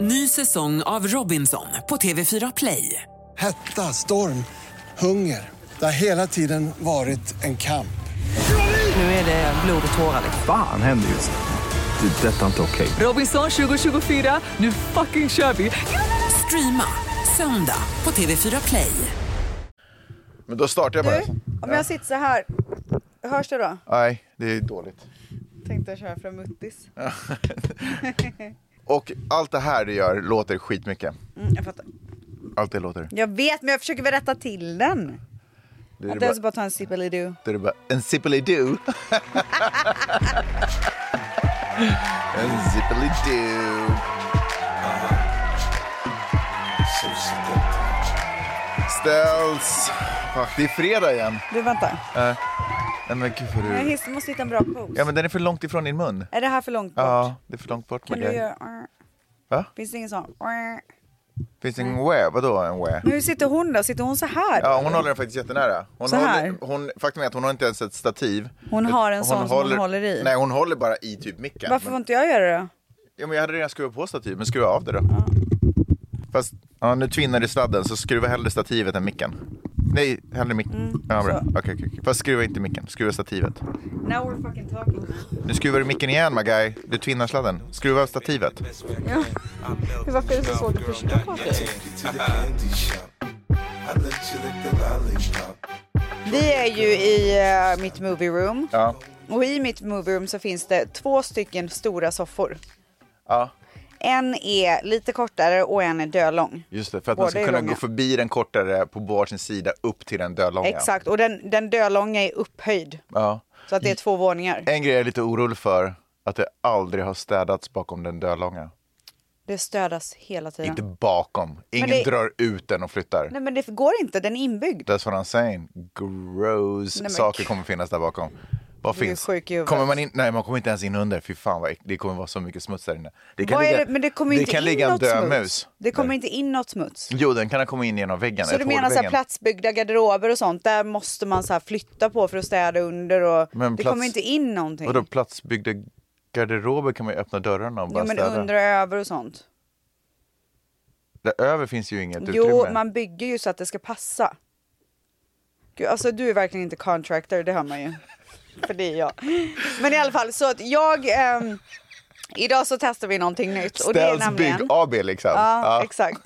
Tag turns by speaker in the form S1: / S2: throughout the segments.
S1: Ny säsong av Robinson på TV4 Play.
S2: Hetta, storm, hunger. Det har hela tiden varit en kamp.
S1: Nu är det blod och tårar.
S3: liksom.
S4: Fan händer just nu. Det. är Detta är inte okej.
S1: Robinson 2024, nu fucking kör vi! Streama söndag på TV4 Play.
S5: Men då startar jag bara.
S6: Om jag sitter så här, hörs det då?
S5: Nej, det är dåligt.
S6: Tänkte jag köra från Muttis.
S5: Och allt det här du gör låter skitmycket.
S6: Mm, jag fattar.
S5: Allt det låter.
S6: Jag vet, men jag försöker väl rätta till den.
S5: Det är
S6: Att
S5: bara,
S6: jag ska bara ta en sippelidu.
S5: det är bara en zippelido. en zippelido. Ställs. Fuck, det är fredag igen.
S6: Du, vänta.
S5: Nej, men gud för
S6: Jag
S5: du.
S6: hiss, måste hitta en bra pose.
S5: Ja men den är för långt ifrån din mun.
S6: Är det här för långt bort?
S5: Ja, det är för långt bort.
S6: kan
S5: men
S6: du
S5: det-
S6: göra...
S5: Va?
S6: Finns det ingen sån?
S5: Finns det en where? Vadå en where?
S6: Men hur sitter hon då? Sitter hon så här?
S5: Ja, hon håller den faktiskt jättenära. Hon
S6: Eh, Så här?
S5: Håller, hon, faktum är att hon har inte ens ett stativ.
S6: Hon har en sån som hon håller i.
S5: Nej, hon håller bara i typ micken.
S6: Varför får
S5: men,
S6: inte jag göra det då?
S5: ja, men jag hade redan skruvat på stativ, men skruva av det då. Fast ja, nu tvinnar du sladden, så skruva hellre stativet än micken. Nej, hellre micken. ja, bra.
S6: Mm, så.
S5: Okej, okej, okej. Fast skruva inte micken, skruva stativet.
S6: Now we're fucking talking.
S5: Nu skruvar du micken igen, my guy. Du tvinnar sladden. Skruva av stativet.
S6: Varför är det så svårt att förstå? Vi är ju i eh, mitt movie room.
S5: Ja.
S6: Och i mitt movie room så finns det två stycken stora soffor.
S5: ja,
S6: En är lite kortare och en är dölång.
S5: just det. För att
S6: Båda
S5: man ska
S6: är
S5: kunna
S6: långa.
S5: gå förbi den kortare på varsin sida upp till den dödlånga.
S6: Exakt, och den, den dölånga är upphöjd.
S5: Ja.
S6: Så att det är två våningar.
S5: En grej jag är lite orolig för, att det aldrig har städats bakom den dödlånga.
S6: Det stödas hela tiden.
S5: Inte bakom. Ingen
S6: det-
S5: drar ut den och flyttar.
S6: Nej men det går inte, den är inbyggd.
S5: That's what I'm saying. Gross
S6: Nej, men-
S5: saker kommer finnas där bakom. Vad
S6: Du är
S5: finns?
S6: sjuk i huvudet.
S5: kommer man in? Nej, man kommer inte ens in under. Fy fan, vad äck- det kommer vara så mycket smuts där inne. Det
S6: Vad är det? Men det kommer ju
S5: det
S6: inte
S5: kan
S6: in
S5: ligga en
S6: något
S5: död
S6: smuts.
S5: mus.
S6: Det kommer
S5: där.
S6: inte in något smuts.
S5: Jo, den kan ha kommit in genom väggen.
S6: Så du
S5: ett
S6: menar så här
S5: hårväggen.
S6: platsbyggda garderober och sånt, där måste man så här flytta på för att städa under och
S5: Men
S6: det
S5: plats-
S6: kommer inte in någonting.
S5: Vadå, platsbyggda garderober kan man ju öppna dörrarna och bara
S6: Jo men
S5: städa.
S6: under och över och sånt.
S5: Där över finns ju inget
S6: Jo,
S5: utrymme.
S6: man bygger ju så att det ska passa. Gud, alltså du är verkligen inte contractor, det hör man ju. För det är jag. Men i alla fall, så att jag... ehm, idag så testar vi någonting nytt. Och det är
S5: Ställs
S6: nämligen...
S5: Bygg AB liksom.
S6: Ja,
S5: Ja.
S6: exakt.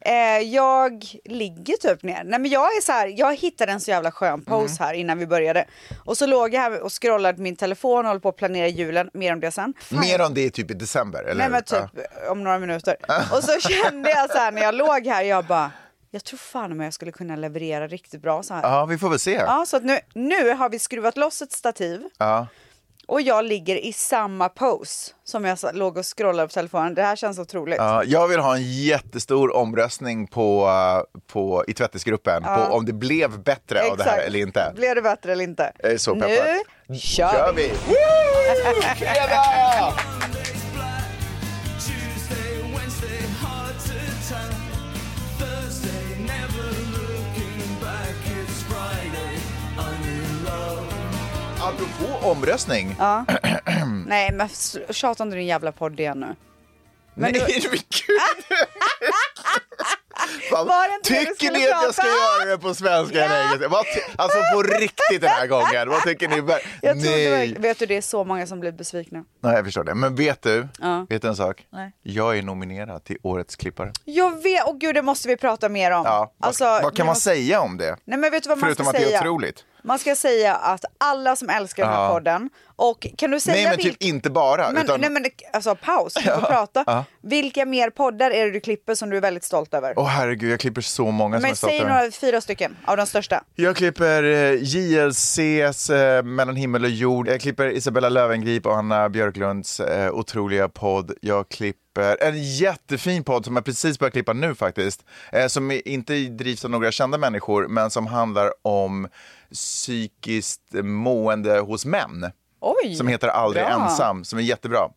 S6: Eh, jag ligger typ ner. Nej, men jag, är så här, jag hittade en så jävla skön
S5: Mm.
S6: pose här innan vi började. Och så låg jag här och scrollade på min telefon och håller på att planera julen. Mer om det sen.
S5: Mer om det typ i december, eller
S6: Nej
S5: hur?
S6: men typ om några minuter. Och så kände jag så här när jag låg här, jag bara, jag tror fan om jag skulle kunna leverera riktigt bra så här.
S5: Ja, Ja, vi får väl se.
S6: Ja, så att nu, nu har vi skruvat loss ett stativ
S5: Ja.
S6: och jag ligger i samma pose som jag sa- låg och scrollade på telefonen. Det här känns otroligt.
S5: Ja, jag vill ha en jättestor omröstning på, eh, på, i tvättisgruppen på om det blev bättre av det här eller inte.
S6: Blev det bättre eller inte?
S5: Jag är så peppad.
S6: Nu kör,
S5: Kör
S6: vi.
S5: vi! Woo! Fredag! Apropå omröstning.
S6: Nej men s- tjata inte din jävla podd igen nu.
S5: Men Nej, men gud! Fan,
S6: Var det inte det du
S5: tycker
S6: skulle
S5: ni att jag
S6: prata
S5: ska
S6: om?
S5: göra det på svenska eller engelska? Vad ty- Alltså på riktigt den här gången, vad tycker ni? Ver-
S6: Jag tror inte
S5: Nej.
S6: verkligen- Vet du det är så många som blir besvikna.
S5: Nej, jag förstår det. Men vet du,
S6: Ja.
S5: vet du en sak?
S6: Nej.
S5: Jag är nominerad till Årets klippare.
S6: Jag vet, och gud det måste vi prata mer om.
S5: Ja, vad,
S6: Alltså,
S5: vad
S6: vi
S5: kan man
S6: måste-
S5: säga om det?
S6: Nej men vet du vad man
S5: Förutom
S6: ska
S5: att det är
S6: säga?
S5: otroligt.
S6: Man ska säga att alla som älskar den här
S5: Ja.
S6: podden och kan du säga
S5: Nej, men
S6: vil-
S5: typ inte bara.
S6: men,
S5: utan...
S6: Nej men alltså paus, du får prata.
S5: ja.
S6: Vilka mer poddar är det du klipper som du är väldigt stolt över?
S5: Åh herregud, jag klipper så många som
S6: men
S5: jag startar.
S6: säg några, fyra stycken av de största.
S5: Jag klipper eh, JLCs eh, Mellan himmel och jord. Jag klipper Isabella Löwengrip och Anna Björklunds eh, otroliga podd. Jag klipper en jättefin podd som jag precis börjar klippa nu faktiskt. Eh, som i- inte drivs av några kända människor, men som handlar om psykiskt mående hos män.
S6: Oj!
S5: Som heter Aldrig
S6: bra.
S5: ensam, som är jättebra.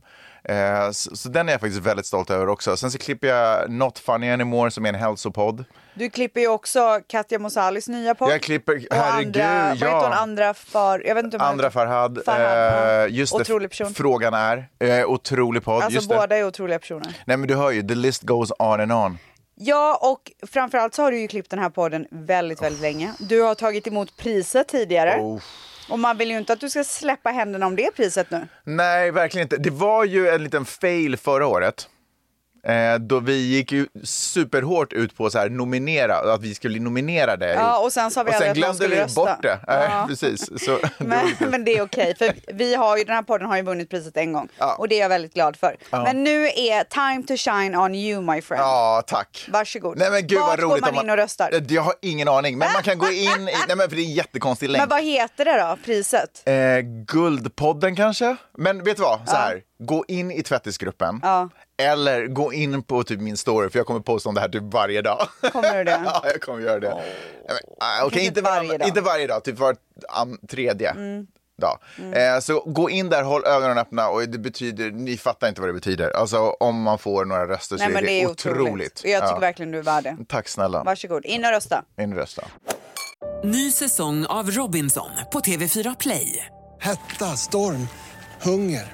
S5: Eh, Så, så den är jag faktiskt väldigt stolt över också. Sen så klipper jag Not Funny Anymore som är en hälsopodd.
S6: Du klipper ju också Katja Mosalis nya podd.
S5: Jag klipper-
S6: Och
S5: herregud,
S6: andra, Vad
S5: ja.
S6: heter hon? Andra för... Jag vet inte om hon
S5: Andra
S6: heter-
S5: Farhad.
S6: Farhad,
S5: eh, just
S6: Otrolig
S5: det,
S6: person.
S5: Frågan är. Eh, otrolig podd.
S6: Alltså
S5: just det.
S6: båda är otroliga personer.
S5: Nej men du hör ju, the list goes on and on.
S6: Ja, och framförallt så har du ju klippt den här podden väldigt, väldigt länge. Du har tagit emot priset tidigare.
S5: Oh.
S6: Och man vill ju inte att du ska släppa händerna om det priset nu.
S5: Nej, verkligen inte. Det var ju en liten fail förra året. Eh, då vi gick ju superhårt ut på så här, nominera, att vi skulle nominera dig.
S6: Ja, och sen sa vi
S5: och sen
S6: aldrig att
S5: glömde
S6: någon skulle
S5: vi
S6: rösta.
S5: bort det. Nej,
S6: Ja.
S5: precis. Så, det var
S6: Men,
S5: lite-
S6: men det är okej, för vi har ju, den här podden har ju vunnit priset en gång.
S5: Ja.
S6: Och det är jag väldigt glad för. Men nu är time to shine on you my friend.
S5: Ja, tack.
S6: Varsågod.
S5: Nej, men gud,
S6: Vart
S5: vad roligt
S6: går man
S5: om
S6: in och röstar?
S5: Eh, Jag har ingen aning, men man kan gå in i... Nej, men för det är en jättekonstig länk.
S6: Men vad heter det då, priset?
S5: Eh, guldpodden kanske? Men vet du vad? Så här, Gå in i tvättisgruppen.
S6: Ja.
S5: Eller gå in på typ min story, för jag kommer posta om det här typ varje dag.
S6: Kommer du det?
S5: ja, jag kommer göra det. Nej, men, ah, Okej,
S6: Kanske
S5: inte,
S6: varje
S5: varann-
S6: dag. Mm.
S5: inte varje dag, typ var am, tredje dag. Eh, så gå in där, håll ögonen öppna och det betyder, ni fattar inte vad det betyder. Alltså om man får några röster så
S6: Nej men det är
S5: otroligt.
S6: otroligt. Och jag tycker
S5: Ja. Mm.
S6: verkligen du är värd det.
S5: Tack snälla.
S6: Varsågod, in och rösta.
S5: In och rösta.
S1: Ny säsong av Robinson på TV4 Play.
S2: Hetta, storm, hunger.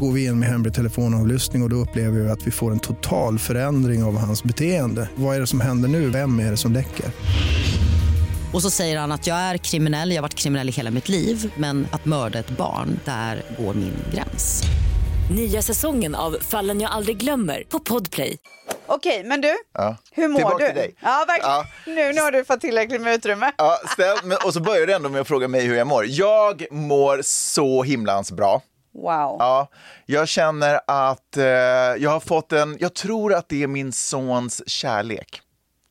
S7: Går vi in med hemlig telefonavlyssning och, och då upplever vi att vi får en total förändring av hans beteende. Vad är det som händer nu? Vem är det som läcker?
S8: Och så säger han att jag är kriminell, jag har varit kriminell i hela mitt liv men att mörda ett barn, där går min gräns.
S9: Nya säsongen av Fallen jag aldrig glömmer på Podplay.
S6: Okej, men du.
S5: Ja.
S6: Hur mår
S5: Tillbaka
S6: du?
S5: till dig.
S6: Ja, verkligen.
S5: Ja.
S6: Nu, nu har du fått tillräckligt med utrymme.
S5: Ja, ställ, men, och så börjar du ändå med att fråga mig hur jag mår. Jag mår så himlans bra.
S6: Wow.
S5: Ja, jag känner att eh, jag har fått en, jag tror att det är min sons kärlek.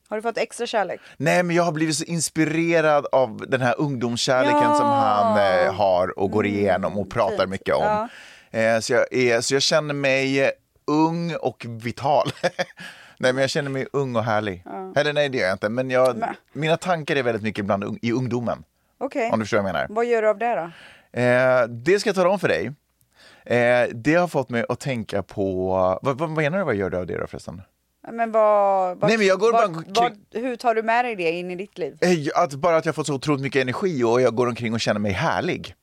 S6: Har du fått extra kärlek?
S5: Nej, men jag har blivit så inspirerad av den här ungdomskärleken
S6: Ja.
S5: som han eh, har och går igenom och pratar mycket om. Eh, så, jag är, så jag känner mig eh, ung och vital. nej, men jag känner mig ung och härlig. Eller nej, det gör jag inte. Men jag, mina tankar är väldigt mycket bland, ung- i ungdomen.
S6: Okej.
S5: Om du förstår vad jag menar.
S6: Vad gör du av det då?
S5: Eh, det ska jag tala om för dig. Eh, det har fått mig att tänka på... Vad, vad menar du? Vad gör du av det då förresten?
S6: Men vad, vad,
S5: Nej, men jag går
S6: vad,
S5: bara-
S6: vad, Hur tar du med dig det in i ditt liv?
S5: Eh, att bara att jag har fått så otroligt mycket energi och jag går omkring och känner mig härlig.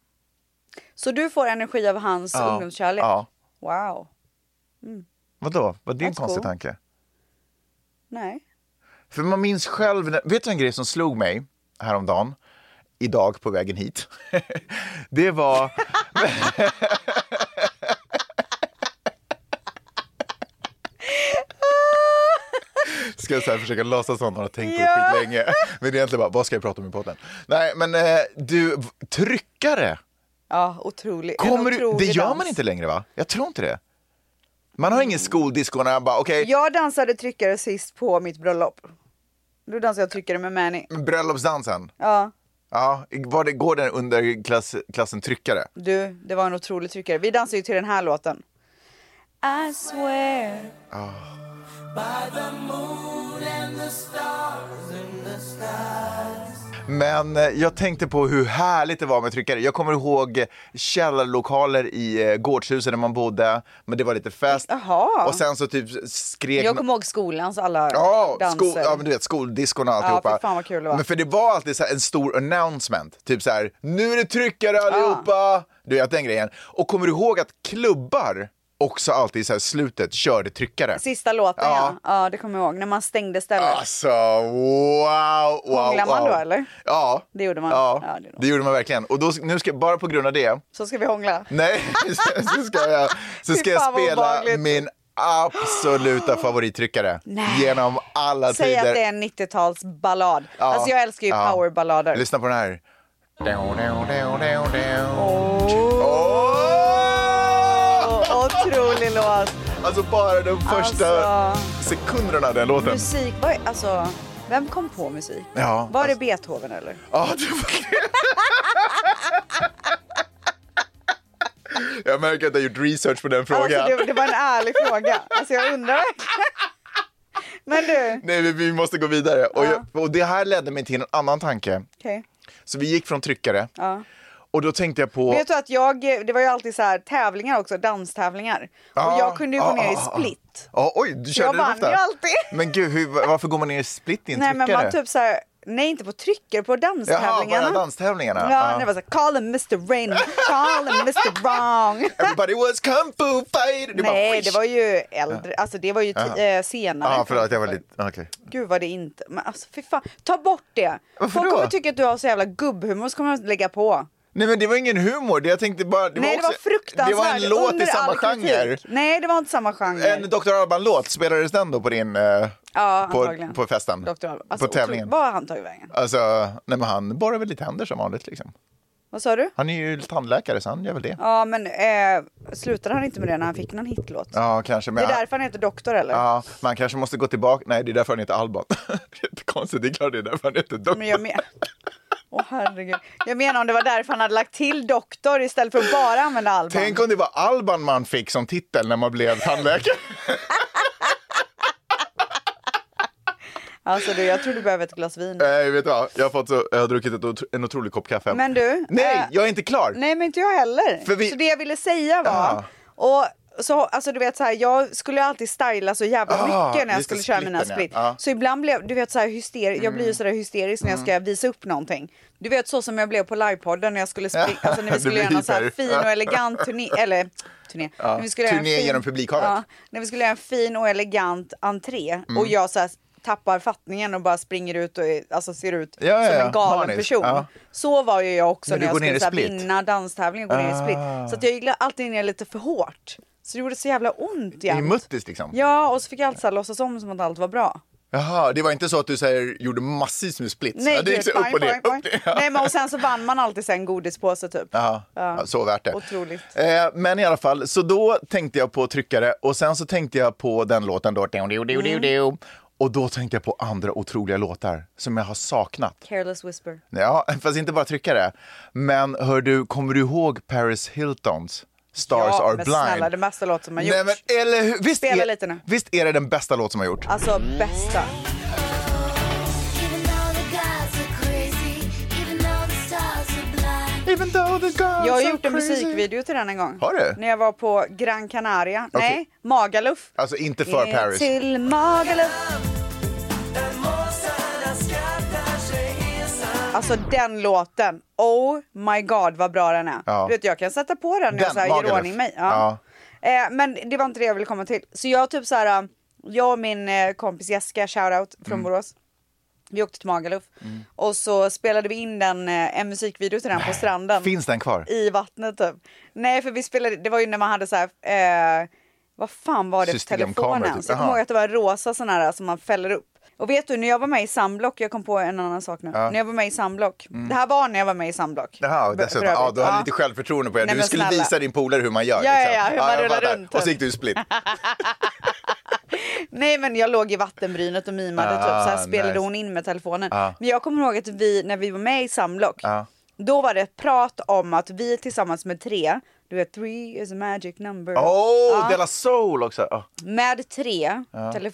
S6: Så du får energi av hans
S5: Ja.
S6: ungdomskärlek?
S5: Ja.
S6: Wow.
S5: Vadå? Var det en
S6: That's
S5: konstig
S6: cool.
S5: tanke?
S6: Nej.
S5: För man minns själv... när- Vet du en grej som slog mig häromdagen? Idag på vägen hit. det var... Ska jag så här försöka låtsas som att man har tänkt på det
S6: Ja.
S5: skitlänge. Men det är egentligen bara, vad ska jag prata om i podden? Nej, men eh, du, v- tryckare!
S6: Ja, otrolig. en
S5: Kommer du, det
S6: otrolig
S5: gör
S6: dans.
S5: man inte längre va? Jag tror inte det. Man har ingen skoldisko när man bara, okej,
S6: Jag dansade tryckare sist på mitt bröllop. Då dansade jag tryckare med Mani.
S5: bröllopsdansen.
S6: Ja,
S5: Ja, var det, går den under klass, klassen tryckare?
S6: du, det var en otrolig tryckare. Vi dansade ju till den här låten. I swear.
S5: Men eh, jag tänkte på hur härligt det var med tryckare. Jag kommer ihåg eh, källarlokaler i eh, gårdshuset där man bodde, men det var lite fest.
S6: Jaha.
S5: Och sen så typ skrek
S6: Jag kommer ihåg skolans alla
S5: Ja,
S6: danser.
S5: sko- ja men du vet skoldiskorna och
S6: Ja,
S5: alltihopa.
S6: fy fan vad kul det var.
S5: Men för det var alltid så här en stor announcement. Typ så här, nu är det
S6: Ah.
S5: tryckare allihopa! Du vet den grejen. Och kommer du ihåg att klubbar också alltid i så här slutet körde tryckare?
S6: Sista låten ja.
S5: Ja.
S6: ja. det kommer jag ihåg. När man stängde stället.
S5: Alltså wow, wow,
S6: Hånglade man
S5: wow.
S6: då, eller?
S5: Ja.
S6: Det gjorde man.
S5: Ja,
S6: Ja, det gjorde man.
S5: det gjorde man verkligen. Och då, nu ska, bara på grund av det,
S6: Så ska vi hångla.
S5: nej, så ska jag, så
S6: Fy
S5: ska jag
S6: fan, vad
S5: spela
S6: obehagligt.
S5: min absoluta favorittryckare.
S6: Nej.
S5: Genom alla
S6: Säg
S5: tider.
S6: att det är en 90-talsballad.
S5: Ja.
S6: Alltså jag älskar ju
S5: Ja.
S6: powerballader.
S5: Lyssna på den här.
S6: Åh, Otrolig låt.
S5: Alltså bara den första
S6: Alltså.
S5: sekunderna av den låten.
S6: Musik, vad är, alltså, vem kom på musik?
S5: Ja,
S6: var
S5: alltså-
S6: det Beethoven eller?
S5: Ja, det var det. Jag märker att jag har gjort research på den frågan.
S6: Alltså, det, det var en ärlig fråga. Alltså jag undrar verkligen. Men du,
S5: Nej, vi, vi måste gå vidare. Och, jag, och det här ledde mig till en annan tanke.
S6: okej.
S5: Så vi gick från tryckare.
S6: Ja.
S5: Och då tänkte jag på...
S6: Vet du att jag, det var ju alltid så här tävlingar också, danstävlingar. och jag kunde ju gå
S5: ja,
S6: ner i
S5: ja, ja.
S6: split.
S5: Ja, oj, du körde
S6: Jag
S5: den
S6: vann
S5: ofta.
S6: ju alltid.
S5: Men gud, hur, varför går man ner i split i en
S6: Nej men
S5: tryckare?
S6: man typ så här, nej inte på trycker, på
S5: Jaha,
S6: danstävlingarna.
S5: bara danstävlingarna? Ah.
S6: Ja, det var så här, call him Mr Rain, call him Mr Wrong.
S5: Everybody was kung fu fighter! Du bara,
S6: Nej,
S5: "Fish!"
S6: det var ju äldre, alltså det var ju ti- eh, senare.
S5: Ja, Ah, förlåt, jag var lite... Okej.
S6: Gud vad det inte, men alltså fy fan, ta bort det.
S5: Varför
S6: Folk
S5: då?
S6: kommer tycka att du har så jävla gubbhumor så kommer de lägga på.
S5: Nej, men det var ingen humor. Det, jag tänkte bara, det
S6: Nej
S5: var också,
S6: det var fruktansvärt.
S5: Det var en låt
S6: Under
S5: i samma
S6: all kritik.
S5: genre.
S6: Nej det var inte samma genre.
S5: En Dr. Alban-låt, spelades den då på din... eh,
S6: ja,
S5: på,
S6: antagligen.
S5: på festen?
S6: Dr. Alban. Alltså,
S5: på tävlingen?
S6: otroligt. Vad har han tagit vägen?
S5: Alltså, nej men han borrar väl lite händer som vanligt liksom.
S6: Vad sa du?
S5: Han är ju tandläkare så han gör väl det.
S6: Ja men eh, slutade han inte med det när han fick någon hitlåt?
S5: Ja, kanske.
S6: Det
S5: Men
S6: är därför han heter doktor eller?
S5: Ja, man kanske måste gå tillbaka. Nej, det är därför han heter Alban. Jättekonstigt, det är klart det är därför han heter Dr.
S6: Men jag men... Åh herregud. Jag menar om det var därför han hade lagt till doktor istället för att bara använda Alban.
S5: Tänk om det var Alban man fick som titel när man blev tandläkare.
S6: Alltså du, jag tror du behöver ett glas vin.
S5: Nej, vet du vad? Jag har, fått så, jag har druckit ett, otro- en otrolig kopp kaffe.
S6: Men du,
S5: Nej,
S6: eh,
S5: jag är inte klar.
S6: Nej men inte jag heller.
S5: För vi-
S6: Så det jag ville säga var, och så, alltså du vet så här, jag skulle ju alltid styla så jävla
S5: Ah,
S6: mycket när jag
S5: just det,
S6: skulle köra mina
S5: splitten, ja.
S6: split.
S5: Ja. Mm.
S6: Så ibland blev, du vet så här hysteri- jag blir ju sådär hysterisk när jag ska visa upp någonting. Du vet så som jag blev på livepodden när jag skulle springa,
S5: Ja,
S6: alltså när vi
S5: du
S6: skulle
S5: blir
S6: göra någon så här
S5: hyper.
S6: fin och elegant turné, eller turné.
S5: Ja,
S6: När vi skulle göra en
S5: turné
S6: fin-
S5: genom publikhavet. Mm.
S6: Ja, när vi skulle göra en fin och elegant entré och jag så här tappar fattningen och bara springer ut och är- alltså ser ut
S5: Ja, ja,
S6: som
S5: ja.
S6: en galen
S5: Manisk.
S6: person.
S5: Ja.
S6: Så var ju jag också
S5: Men du
S6: när jag
S5: går ner
S6: skulle
S5: i
S6: så här,
S5: split?
S6: vinna danstävlingen och gå ner i
S5: Ah.
S6: split. Så att jag gick alltid ner lite för hårt. Så det gjorde så jävla ont
S5: I
S6: jämt.
S5: muttis liksom.
S6: Ja, och så fick jag alltid så här låtsas om som att allt var bra.
S5: Jaha, det var inte så att du så här, gjorde massvis med splits?
S6: Nej,
S5: ja, det gick
S6: gud,
S5: så upp
S6: poäng,
S5: och ner.
S6: poäng, poäng.
S5: Upp, ner, ja.
S6: Nej, men och sen så vann man alltid sen godispåse typ.
S5: Ja, Alltså. ja, så värt det.
S6: Otroligt.
S5: Eh, men i alla fall, så då tänkte jag på tryckare och sen så tänkte jag på den låten då. Diu, diu, diu,
S6: Mm.
S5: diu, diu. Och då tänkte jag på andra otroliga låtar som jag har saknat.
S6: Careless whisper.
S5: Ja, fast inte bara tryckare. Men hör du, kommer du ihåg Paris Hiltons Stars
S6: ja,
S5: Are
S6: men
S5: Blind?
S6: snälla, det bästa låt som har gjorts.
S5: Nej, men, eller hur? Visst,
S6: Spela
S5: är,
S6: lite nu.
S5: visst är det den bästa låt som har gjorts?
S6: Alltså bästa. Jag har gjort en musikvideo till den en gång.
S5: Har du?
S6: När jag var på Gran Canaria.
S5: Okej.
S6: Nej, Magaluf.
S5: Alltså inte för
S6: Ner
S5: Paris.
S6: Eh, Till Magaluf. Alltså den låten. Oh my god vad bra den är.
S5: Ja.
S6: Du vet, jag kan sätta på den när
S5: Den,
S6: jag så här gör
S5: Magaluf.
S6: ordning mig. Ja. Eh, men det var inte det jag ville komma till. Så jag typ så här, jag och min eh, kompis Jessica, shoutout från
S5: Mm.
S6: Borås. Vi åkte till Magaluf och så spelade vi in den, eh, en musikvideo till den på stranden
S5: Finns den kvar?
S6: Liksom, i vattnet typ. Nej för vi spelade, det var ju när man hade så här, eh, vad fan var det för
S5: Systemkamera,
S6: telefonen?
S5: typ.
S6: Så jag kommer
S5: Aha.
S6: ihåg att det var en rosa sån här som man fäller upp. Och vet du, när jag var med i Sandblock, jag kom på en annan sak nu. När jag var med i Sandblock, det här var när jag var med i Sandblock.
S5: Mm. Jaha, och
S6: För-
S5: dessutom,
S6: för övrigt.
S5: ja, du hade lite självförtroende på dig.
S6: Nej,
S5: Du
S6: men
S5: skulle
S6: snälla.
S5: visa din polare hur man gör.
S6: Ja, ja,
S5: liksom.
S6: ja, hur man
S5: jag
S6: rullar
S5: fattar.
S6: runt.
S5: Och så gick du i split.
S6: Nej men jag låg i vattenbrynet och mimade typ, så här
S5: Ah,
S6: spelade
S5: nice.
S6: hon in med telefonen.
S5: Ah.
S6: Men jag kommer ihåg att vi, när vi var med i Samblock,
S5: Ah.
S6: då var det ett prat om att vi tillsammans med tre, du vet three is a magic number.
S5: Åh,
S6: Ja.
S5: Della Soul också! Ja.
S6: med tre,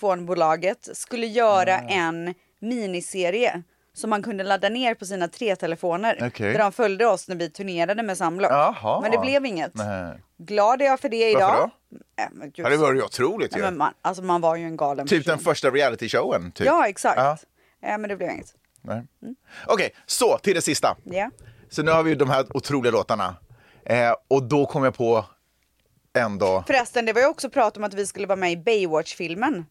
S6: telefonbolaget, skulle göra en miniserie som man kunde ladda ner på sina tre telefoner.
S5: Okej.
S6: Där de följde oss när vi turnerade med Samblock.
S5: Jaha.
S6: Men det blev inget.
S5: Nej.
S6: Glad är jag för det idag.
S5: Varför
S6: Nej, men gud.
S5: Ja, Det var ju otroligt
S6: Nej,
S5: ju.
S6: men man, alltså man var ju en galen
S5: Typ den
S6: person.
S5: första realityshowen. Typ.
S6: Ja, exakt.
S5: Ja.
S6: Eh, men det blev inget.
S5: Nej. Okej, så till det sista.
S6: Ja.
S5: Så nu har vi ju de här otroliga låtarna. Eh, och då kom jag på en dag.
S6: Förresten, det var ju också prat om att vi skulle vara med i Baywatch-filmen.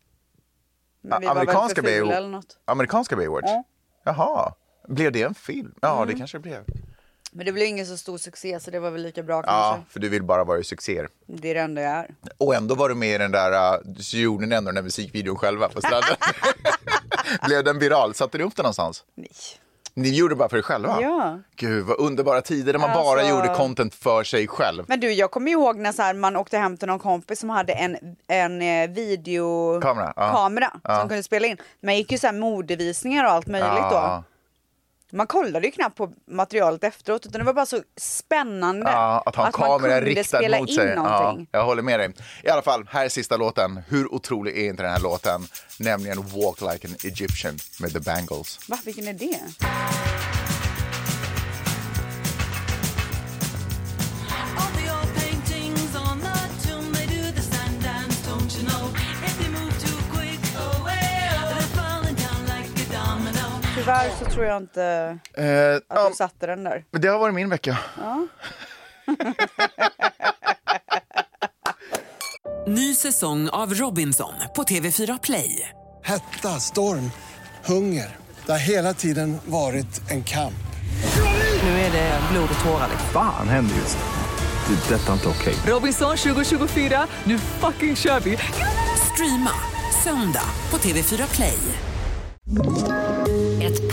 S6: Men vi var väl för
S5: Amerikanska
S6: fula
S5: Baywatch.
S6: eller något.
S5: Amerikanska Baywatch?
S6: Ja. Mm.
S5: Jaha. Blev det en film? Ja, det kanske det blev.
S6: Men det blev ingen så stor succé så det var väl lika bra
S5: Ja,
S6: kanske.
S5: för du vill bara vara i succéer.
S6: Det är det enda jag är.
S5: Och ändå var du med i den där, uh, så gjorde ni ändå den där musikvideon själva på stranden. Blev den viral? Satte du upp den någonstans?
S6: Nej.
S5: Ni gjorde det bara för er själva?
S6: Ja.
S5: Gud, vad underbara tider där man bara
S6: Alltså-
S5: gjorde content för sig själv.
S6: Men du, jag kommer ihåg när så här, man åkte hem till någon kompis som hade en, en eh,
S5: Kamera,
S6: videokamera
S5: ja. Ja.
S6: som kunde spela in. Man gick ju så här modevisningar och allt möjligt
S5: Ja.
S6: då. Man kollade ju knappt på materialet efteråt utan det var bara så spännande
S5: Ja, att ha en kamera
S6: alltså, man kunde
S5: riktad
S6: spela
S5: mot
S6: in
S5: sig. Ja,
S6: någonting.
S5: jag håller med dig. I alla fall, här är sista låten. Hur otrolig är inte den här låten? Nämligen Walk Like an Egyptian med The Bangles.
S6: Va, vilken är det?
S8: oh,
S6: Tyvärr så tror jag inte
S5: Eh,
S6: att
S5: ja,
S6: du satte den där.
S5: men det har varit min vecka.
S1: Ny säsong av Robinson på TV4 Play.
S2: Hetta, storm, hunger. Det har hela tiden varit en kamp.
S3: Nu är det blod och tårar. Liksom.
S4: Fan händer just nu. Det. är Detta är inte okej.
S1: Robinson 2024, nu fucking kör vi! Streama söndag på TV4 Play.
S9: Ett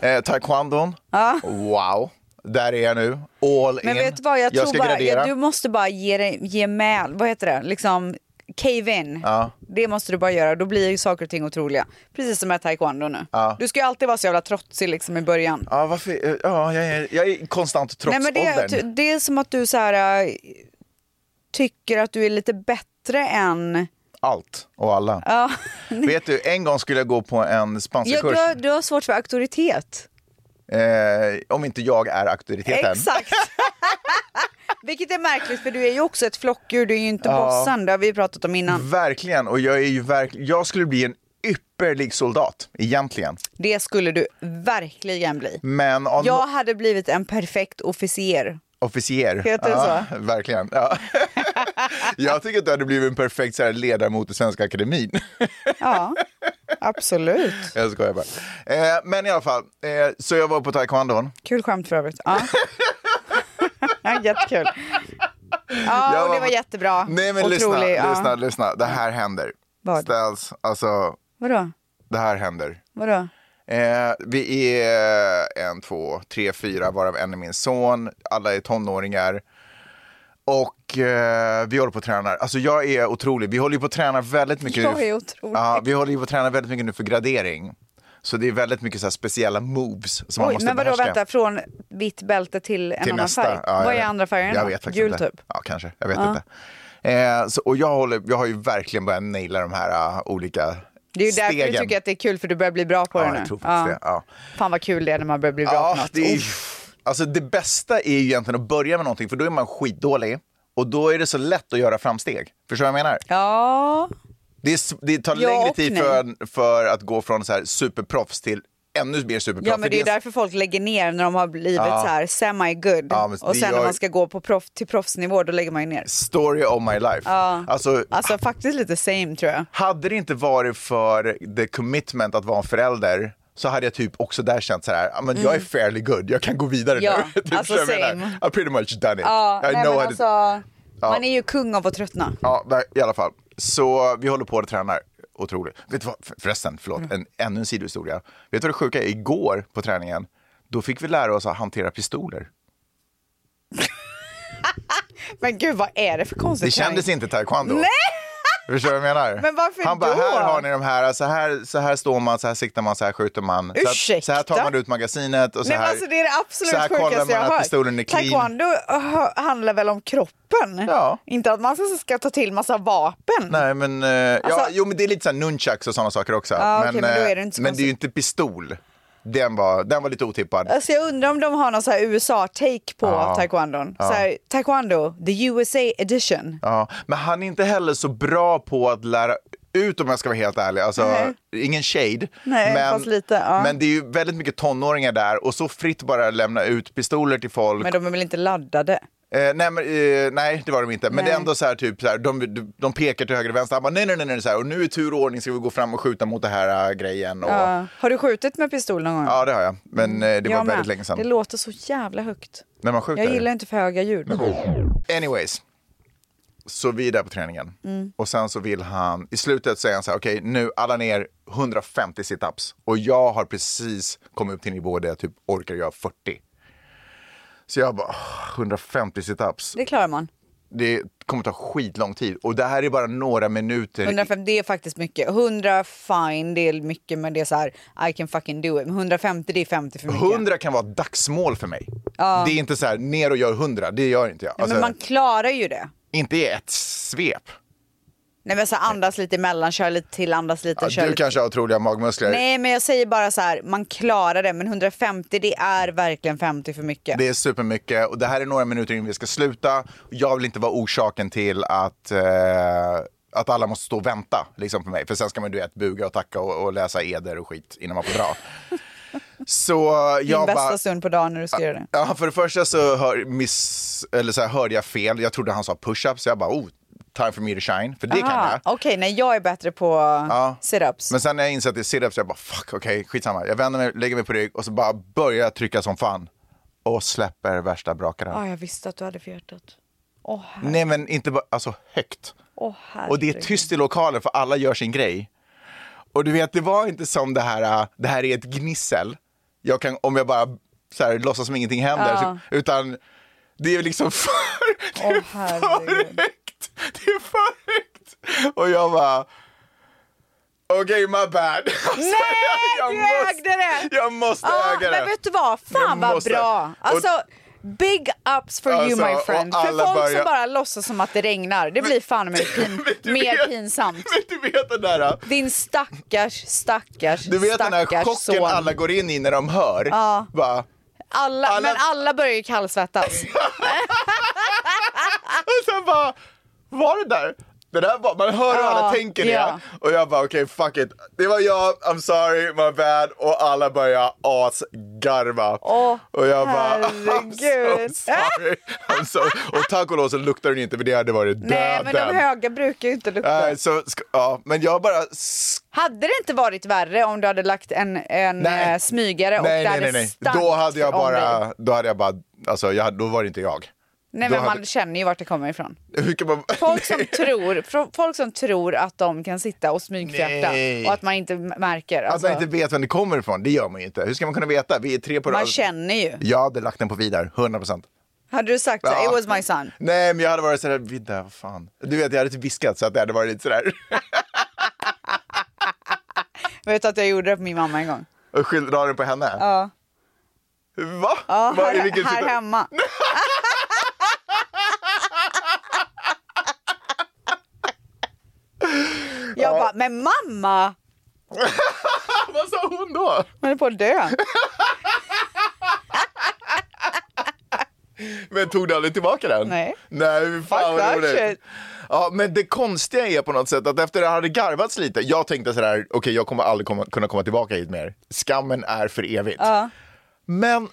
S5: Eh, taekwondon. Wow. Där är jag nu. All
S6: Men
S5: in.
S6: vet du vad, jag,
S5: jag
S6: tror
S5: ska
S6: bara,
S5: gradera.
S6: ja, du måste bara ge, dig- ge med, vad heter det, liksom cave in.
S5: Ja.
S6: Det måste du bara göra, då blir ju saker och ting otroliga. Precis som med taekwondo nu.
S5: Ja.
S6: Du ska ju alltid vara så jävla trotsig liksom i början.
S5: Ja, varför? eh, Ja, jag, är, jag är konstant trots
S6: Nej, men det,
S5: åldern.
S6: ty- det är som att du så här, äh, tycker att du är lite bättre än...
S5: Allt och alla.
S6: Ja.
S5: Vet du, en gång skulle jag gå på en
S6: Ja,
S5: spanskakurs.
S6: du, har, du har svårt för auktoritet.
S5: Eh, om inte jag är auktoriteten.
S6: Exakt. Vilket är märkligt för du är ju också ett flockdjur, du är ju inte
S5: Ja.
S6: bossen, det har vi ju pratat om innan.
S5: Verkligen, och jag är ju verk... jag skulle bli en ypperlig soldat egentligen.
S6: Det skulle du verkligen bli.
S5: Men av
S6: Jag
S5: ja.
S6: hade blivit en perfekt officer.
S5: officer.
S6: Heter det
S5: ja, Verkligen. Ja. jag tycker att du hade blivit en perfekt så här, ledamot i Svenska Akademin.
S6: Ja, absolut.
S5: jag skojar bara. Eh, men i alla fall, eh, så jag var på taekwondon.
S6: Kul skämt för övrigt. Ja. Jättekul.
S5: Jag
S6: Ja, och det var
S5: på-
S6: jättebra.
S5: Nej men
S6: Otrolig,
S5: lyssna,
S6: ja.
S5: lyssna, lyssna. Det här händer.
S6: Vad?
S5: Ställs, alltså,
S6: Vadå?
S5: det här händer.
S6: Vadå?
S5: Eh, vi är en, två, tre, fyra, varav en är min son. Alla är tonåringar. Och eh, vi håller på och tränar. Alltså jag är otrolig. Vi håller ju på och tränar väldigt mycket.
S6: Jag
S5: nu-
S6: är otrolig.
S5: Ja, vi håller ju på och tränar väldigt mycket nu för gradering. Så det är väldigt mycket så här speciella moves som man
S6: Oj,
S5: måste
S6: men vadå,
S5: behärska.
S6: vänta, från vitt bälte till en annan färg?
S5: Ja, jag
S6: Vad är
S5: vet.
S6: andra färgen
S5: Jag
S6: då?
S5: vet faktiskt
S6: Gul
S5: inte.
S6: typ?
S5: Ja, kanske. Jag vet inte. Eh, så, och jag, håller, jag har ju verkligen börjat naila de här ah, olika
S6: Det är ju därför
S5: stegen.
S6: du tycker att det är kul, för du börjar bli bra på
S5: Ja,
S6: det
S5: jag
S6: nu.
S5: tror faktiskt det, ja.
S6: Fan vad kul det är när man börjar bli bra på något.
S5: det, är,
S6: Uff.
S5: alltså det bästa är ju egentligen att börja med någonting för då är man skitdålig och då är det så lätt att göra framsteg. Förstår du vad jag menar?
S6: Ja,
S5: Det, är, s- det tar
S6: Ja
S5: längre
S6: och
S5: tid
S6: nej.
S5: för, för att gå från så här superproffs till ännu mer superproffs.
S6: ja men
S5: För
S6: det är ju därför folk lägger ner när de har blivit så här semi-good.
S5: Ja, men
S6: och
S5: det
S6: sen när
S5: gör-
S6: man ska gå på proff, till proffsnivå, då lägger man ju ner.
S5: Story of my life. Alltså,
S6: Alltså faktiskt lite same tror jag.
S5: hade det inte varit för the commitment att vara en förälder så hade jag typ också där känt så här, "Ja, men jag är fairly good, jag kan gå vidare
S6: Mm. Ja,
S5: nu. Typ
S6: alltså
S5: så jag menar,
S6: same.
S5: I pretty much done it.
S6: Ja,
S5: I
S6: nej,
S5: know
S6: men
S5: how to-
S6: alltså, Man är ju kung av att tröttna.
S5: Ja, ver- i alla fall. Så vi håller på och tränar. Otroligt. Vet du vad, för- förresten, förlåt,
S6: Mm.
S5: en, ännu en sidohistoria. Vet du vad det sjuka är? Igår på träningen, då fick vi lära oss att hantera pistoler.
S6: Men gud vad är det för konstigt?
S5: Det kändes inte taekwondo.
S6: Nej!
S5: Förstår du vad jag menar?
S6: Men varför
S5: Han bara,
S6: då?
S5: här har ni de här, så här, så här står man, så här siktar man, så här skjuter man. Så här, så här tar
S6: Ursäkta?
S5: man ut magasinet och så
S6: Nej,
S5: här,
S6: men alltså, det är det
S5: så här
S6: absolut
S5: kollar man
S6: sjukaste jag har
S5: att
S6: hört.
S5: pistolen är clean.
S6: Taekwondo ö, handlar väl om kroppen?
S5: Ja.
S6: Inte att man ska- ska ta till massa vapen.
S5: Nej, men, eh, ja,
S6: Alltså-
S5: jo, men det är lite så här nunchucks och sådana saker också.
S6: Ja, okej, men då är det
S5: eh,
S6: inte så
S5: men det är ju
S6: konstigt.
S5: inte pistol. Den var, den var lite otippad.
S6: Alltså jag undrar om de har någon så här USA-take på
S5: Ja.
S6: taekwondon. Så här, taekwondo, the USA edition.
S5: Ja, men han är inte heller så bra på att lära ut om jag ska vara helt ärlig. Alltså,
S6: Nej.
S5: ingen shade.
S6: Nej, fast lite, ja.
S5: men det är ju väldigt mycket tonåringar där och så fritt bara lämna ut pistoler till folk.
S6: Men de är väl inte laddade?
S5: Eh, nej, men, eh, nej, det var de inte. Men
S6: Nej.
S5: det är ändå så här, typ, så här, de, de pekar till höger och vänster. Han bara, nej, nej, nej, nej, så här, och nu i tur och ordning ska vi gå fram och skjuta mot den här eh, grejen. Och, ja.
S6: Ja. Har du skjutit med pistol någon gång?
S5: det har jag. Men eh, det var
S6: Jag med.
S5: väldigt länge sedan.
S6: Det låter så jävla högt.
S5: när man skjuter.
S6: Jag gillar inte för höga ljud.
S5: Anyways. Så vi är där på träningen.
S6: Mm.
S5: Och sen så vill han, i slutet säger han så här, okej nu alla ner 150 situps. Och jag har precis kommit upp till en nivå där jag typ orkar göra 40. Så jag bara, "Åh, 150 situps.
S6: Det klarar man.
S5: Det kommer ta skitlång tid. Och det här är bara några minuter.
S6: 150, det är faktiskt mycket. 100 fine, det är mycket men det är så här I can fucking do it. Men 150 det är 50 för mycket.
S5: 100 kan vara dagsmål för mig. Det är inte så här, ner och gör 100. Det gör inte jag.
S6: Nej,
S5: Alltså,
S6: men man klarar ju det.
S5: Inte i ett svep.
S6: Nej men så här, andas lite emellan, kör lite till, andas lite,
S5: Ja,
S6: kör
S5: du
S6: lite.
S5: kanske har otroliga magmuskler.
S6: Nej men jag säger bara så här, man klarar det men 150 det är verkligen 50 för mycket.
S5: Det är supermycket och det här är några minuter innan vi ska sluta. Jag vill inte vara orsaken till att, eh, att alla måste stå och vänta liksom på mig. För sen ska man du vet, buga och tacka och, och läsa eder och skit innan man får dra. Så
S6: Din
S5: jag
S6: bästa
S5: bara...
S6: stund på dagen när du ska göra det.
S5: Ja, för det första så, hör, miss, eller så här, hörde jag fel. Jag trodde han sa push-up så jag bara oh, time for me to shine. För det kan
S6: Aha, oh,
S5: jag.
S6: Okej, nej jag är bättre på
S5: Ja.
S6: sit-ups.
S5: Men sen när jag insåg att det är sit-ups, jag bara fuck, okej, skitsamma. Jag vänder mig, lägger mig på rygg och så bara börjar jag trycka som fan. Och släpper värsta brakaren.
S6: Ah, jag visste att du hade för hjärtat. Åh her-
S5: Nej men inte bara, alltså högt.
S6: åh, herregud.
S5: Och det är tyst i lokalen för alla gör sin grej. Och du vet, det var inte som det här, äh, det här är ett gnissel. Jag kan, om jag bara så här, låtsas som ingenting händer.
S6: Ja.
S5: Så, utan det är liksom för, det är
S6: Åh,
S5: för
S6: herregud.
S5: högt. Det är för högt. Och jag bara, okej my bad. Alltså,
S6: Nej, du ägde det!
S5: Jag måste
S6: Ja,
S5: äga det.
S6: Ah, men vet du vad?
S5: Jag
S6: Fan vad
S5: måste-
S6: bra!
S5: och-
S6: Alltså, big ups for
S5: Alltså,
S6: you my
S5: och
S6: friend. För
S5: alla
S6: folk
S5: börjar-
S6: som bara låtsas som att det regnar, det blir fan mig pin...
S5: Men du
S6: mer
S5: vet-
S6: pinsamt.
S5: Men du vet den där. äh,
S6: Din stackars, stackars,
S5: Du vet den här
S6: stackars
S5: chocken
S6: son.
S5: alla går in i när de hör.
S6: Ja. Ah.
S5: Bara,
S6: Alla-
S5: alla-
S6: Men alla börjar ju kallsvettas.
S5: Och sen bara, var det där? Det där var, man hör hur
S6: Ja,
S5: alla tänker det.
S6: ja.
S5: Och jag bara okej, fuck it. Det var jag, I'm sorry, my bad. Och alla börjar asgarva.
S6: Åh,
S5: och jag bara, I'm
S6: herregud.
S5: so sorry. I'm sorry. Och tack och lov så luktar den inte för det hade varit döden.
S6: Nej men de höga brukar ju inte lukta.
S5: Nej, så, ska- ja, men jag bara sk-
S6: Hade det inte varit värre om du hade lagt en, en
S5: Nej.
S6: eh, smygare och
S5: nej,
S6: där
S5: nej, nej,
S6: det
S5: nej.
S6: stank
S5: Då hade jag
S6: om dig?
S5: bara, då hade jag bara, alltså jag, hade- då var det inte jag.
S6: Nej
S5: då
S6: men man
S5: hade-
S6: känner ju vart det kommer ifrån.
S5: Hur kan man... Alltså,
S6: Folk som, tror, fro- folk som tror att de kan sitta och smygfjärta
S5: Nej.
S6: och att man inte m- märker.
S5: Att
S6: Alltså,
S5: man inte vet vem det kommer ifrån, det gör man ju inte. Hur ska man kunna veta? Vi är tre på
S6: man
S5: rad.
S6: känner ju.
S5: Jag hade lagt den på vidare, 100 procent.
S6: Hade du sagt så,
S5: Ja.
S6: it was my son.
S5: Nej, men jag hade varit sådär, vidda, vad fan. Du vet, jag hade typ viskat så att det hade varit lite sådär.
S6: Vet du att jag gjorde det på min mamma en gång?
S5: Och skyll- la den på henne.
S6: Ja.
S5: Va?
S6: Ja,
S5: Var- i
S6: här,
S5: vilken
S6: här
S5: situation-
S6: hemma. Jag bara, men mamma!
S5: Vad sa hon då?
S6: Hon är på att dö.
S5: Men tog du aldrig tillbaka den?
S6: Nej.
S5: Nej, fan
S6: Fuck
S5: vad
S6: that
S5: roligt.
S6: shit.
S5: Ja, men det konstiga är på något sätt att efter det hade garvats lite, jag tänkte sådär, okej jag kommer aldrig komma, kunna komma tillbaka hit mer. Skammen är för evigt. Men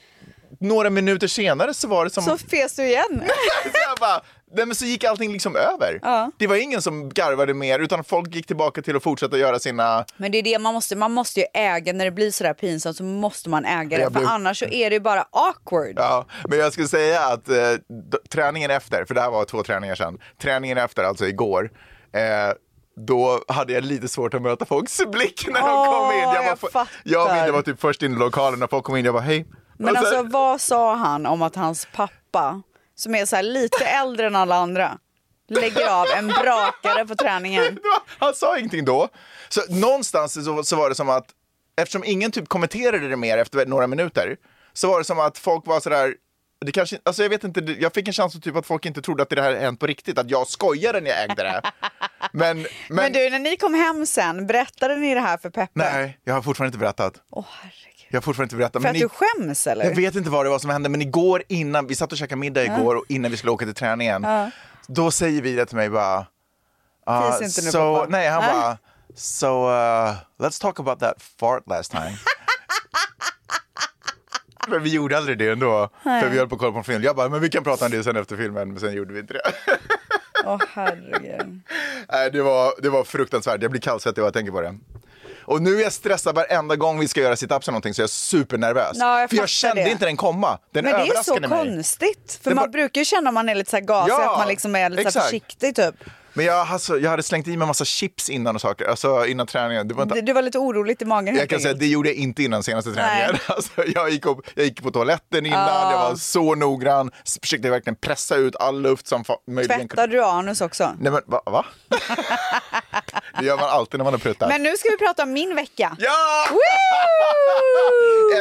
S5: några minuter senare så var det som...
S6: Så fes du igen.
S5: så jag bara, nej, men så gick allting liksom över. Det var ingen som garvade mer utan folk gick tillbaka till att fortsätta göra sina...
S6: Men det är det man måste, man måste ju äga när det blir sådär pinsamt så måste man äga det
S5: Jag blev-
S6: för annars så är det ju bara awkward.
S5: Ja, men jag skulle säga att eh, d- träningen efter, för det här var två träningar sedan, träningen efter, alltså igår, eh, då hade jag lite svårt att möta folks blick när de
S6: Åh,
S5: kom in.
S6: jag
S5: var,
S6: fattar.
S5: jag och Mindy var typ först in i lokalen när folk kom in, jag bara hej.
S6: Men
S5: Och sen-
S6: alltså vad sa han om att hans pappa, som är så här lite äldre än alla andra, lägger av en brakare på träningen?
S5: Det var- Han sa ingenting då. Så någonstans så, så var det som att, eftersom ingen typ kommenterade det mer efter några minuter, så var det som att folk var sådär, det kanske, alltså jag vet inte, det- jag fick en chans att typ att folk inte trodde att det här hänt på riktigt, att jag skojade när jag ägde det. Men, men,
S6: Men du, när ni kom hem sen, berättade ni det här för Peppe?
S5: nej, jag har fortfarande inte berättat.
S6: Åh herregud.
S5: Jag har fortfarande inte berättat.
S6: För
S5: Men
S6: att
S5: ni-
S6: du skäms eller?
S5: jag vet inte vad det var som hände, men igår innan, vi satt och käkade middag igår och innan vi skulle åka till träningen, då säger Vidar till mig bara, ah,
S6: Finns inte nu,
S5: so,
S6: pappa.
S5: nej han
S6: Nej.
S5: bara, So uh, let's talk about that fart last time. men vi gjorde aldrig det ändå, för vi höll på att kolla på en film. Jag bara, men vi kan prata om det sen efter filmen, men sen gjorde vi inte det.
S6: Åh herregud.
S5: Nej, det var, det var fruktansvärt. Jag blir kallsvettig av att tänka på det. Och nu är jag stressad varenda gång vi ska göra situps eller någonting så jag är supernervös.
S6: Ja, jag
S5: För jag
S6: fattar
S5: kände
S6: det.
S5: inte den komma. Den
S6: Men det är så
S5: överraskade mig.
S6: konstigt. För
S5: Det
S6: man
S5: var-
S6: brukar ju känna om man är lite så här gasig
S5: Ja,
S6: att man liksom är lite så här
S5: exakt.
S6: försiktig typ.
S5: Men jag, alltså, jag hade slängt i mig massa chips innan och saker, alltså innan träningen. Det var inte...
S6: Du- Du var lite oroligt i magen
S5: Jag
S6: helt
S5: kan säga att
S6: enkelt.
S5: det gjorde jag inte innan senaste
S6: Nej. Ah.
S5: träningen. Alltså, jag, gick upp, jag gick på toaletten innan, jag var så noggrann, s- försökte verkligen pressa ut all luft som fa- möjligen kunde.
S6: Tvättade du anus också?
S5: Nej men va? va? det gör man alltid när man har pruttat.
S6: Men nu ska vi prata om min vecka.
S5: Ja!
S6: Woo!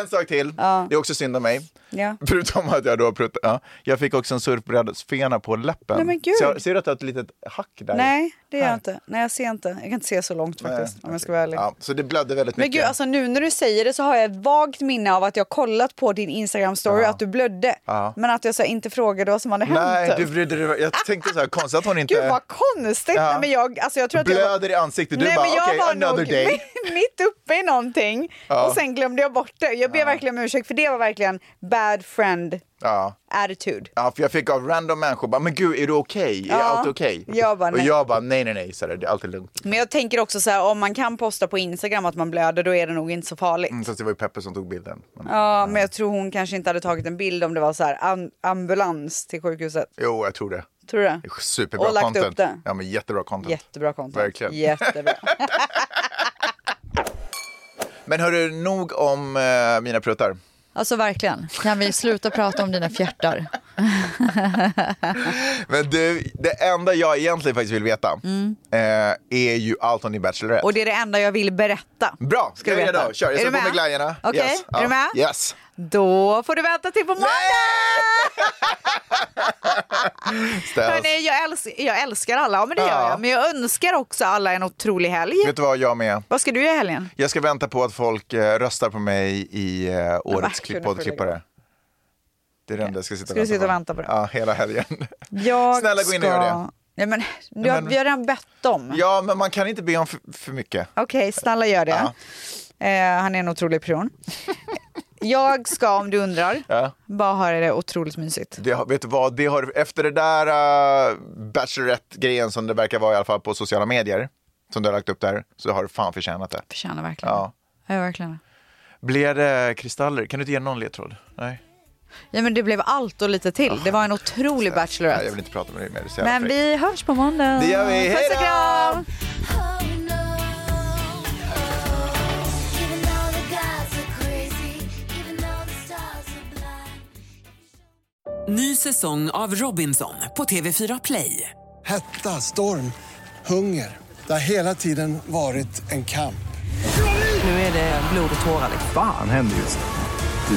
S5: En sak till. Det är också synd om mig.
S6: Ja.
S5: Förutom att jag då har pruttat. Ja. Jag fick också en surfbrädesfena på läppen.
S6: Nej, men gud.
S5: Så jag, ser du att du har ett litet hack där?
S6: Nej, det gör
S5: Här.
S6: jag inte. Nej, jag ser inte. Jag kan inte se så långt faktiskt, om jag ska vara ärlig.
S5: Ja, så det blödde väldigt
S6: Men
S5: mycket.
S6: gud, alltså nu när du säger det så har jag ett vagt minne av att jag kollat på din Instagram-story att du blödde.
S5: Ja.
S6: Men att jag så här inte frågade vad som hade
S5: Nej,
S6: hänt. typ.
S5: du brydde dig. Jag tänkte så här, konstigt att hon inte...
S6: Gud vad konstigt!
S5: Ja.
S6: Nej, men jag, alltså, jag tror att jag var...
S5: Blöder i ansiktet. Du
S6: Nej,
S5: bara,
S6: men jag
S5: okej,
S6: var
S5: another
S6: nog
S5: day.
S6: mitt uppe i någonting och sen glömde jag bort det. Jag ber verkligen om ursäkt för det var verkligen bad friend
S5: Ja.
S6: attitude.
S5: ja, för jag fick av random människor bara, men gud, är du okej? Är
S6: Ja.
S5: allt okej?
S6: Jag bara,
S5: Och
S6: nej.
S5: jag bara, nej, nej, nej, så där, det är alltid lugnt.
S6: Men jag tänker också så här, om man kan posta på Instagram att man blöder då är det nog inte så farligt.
S5: Mm, Fast det var ju Peppe som tog bilden. Men,
S6: Ja, men jag tror hon kanske inte hade tagit en bild om det var så här am- ambulans till sjukhuset.
S5: Jo, jag tror det.
S6: Tror du det?
S5: Det är Superbra
S6: Och lagt
S5: content.
S6: upp det.
S5: Ja, men jättebra content.
S6: Jättebra content.
S5: Verkligen.
S6: Jättebra.
S5: Men hörru, nog om eh, mina pruttar.
S10: Alltså verkligen. Kan vi sluta prata om dina fjärtar?
S5: Men du, det enda jag egentligen faktiskt vill veta eh, är ju allt om din Bachelorette.
S6: Mm. Och det är det enda jag vill berätta.
S5: Bra,
S6: Ska
S5: ska
S6: du
S5: vi
S6: veta.
S5: då? Kör,
S6: Är
S5: jag
S6: du
S5: sätter på
S6: med?
S5: mig glajjorna.
S6: Okej,
S5: Yes.
S6: är du med?
S5: Yes.
S6: Då får du vänta till på måndag!
S5: Ställs.
S6: Hörrni, jag, älsk jag älskar alla, ja, men det gör
S5: Ja.
S6: jag. Men jag önskar också alla en otrolig helg.
S5: Vet du vad, jag med.
S6: Vad ska du göra i helgen?
S5: Jag ska vänta på att folk eh, röstar på mig i eh, årets
S6: verkligen,
S5: klipp-
S6: får du lägga
S5: poddklippare. Det är det enda jag ska sitta,
S6: Ska du sitta och vänta på det? Mm.
S5: Ja, hela helgen.
S6: Jag
S5: Snälla, gå in och gör
S6: ska-
S5: det.
S6: Nej, men, du har,
S5: men-
S6: vi har redan bett om.
S5: Ja, men man kan inte be om för, för mycket.
S6: Okej, snälla gör det. Eh, han är en otrolig person. jag ska, om du undrar,
S5: Ja.
S6: bara ha det otroligt mysigt.
S5: Det, har- vet du vad, det har, efter det där uh, Bachelorette-grejen som det verkar vara i alla fall på sociala medier, som du har lagt upp där, så har du fan förtjänat det.
S6: Förtjänar verkligen
S5: Ja.
S6: ja, verkligen.
S5: Blev det kristaller? Kan du inte ge någon ledtråd? Nej.
S6: Ja, men det blev allt och lite till. Det var en otrolig
S5: Nej, Ah, jag
S6: Bachelorette.
S5: vill inte prata med dig mer. Det är så jävla
S6: Men
S5: fräckt.
S6: vi hörs på måndag.
S5: Det gör vi. Hej
S6: Puss
S5: då!
S6: och kram!
S8: Oh,
S1: Ny säsong av Robinson på TV4 Play.
S2: Hetta, storm, hunger. Det har hela tiden varit en kamp.
S3: Nu är det blod och tårar. Liksom.
S4: Fan händer just det.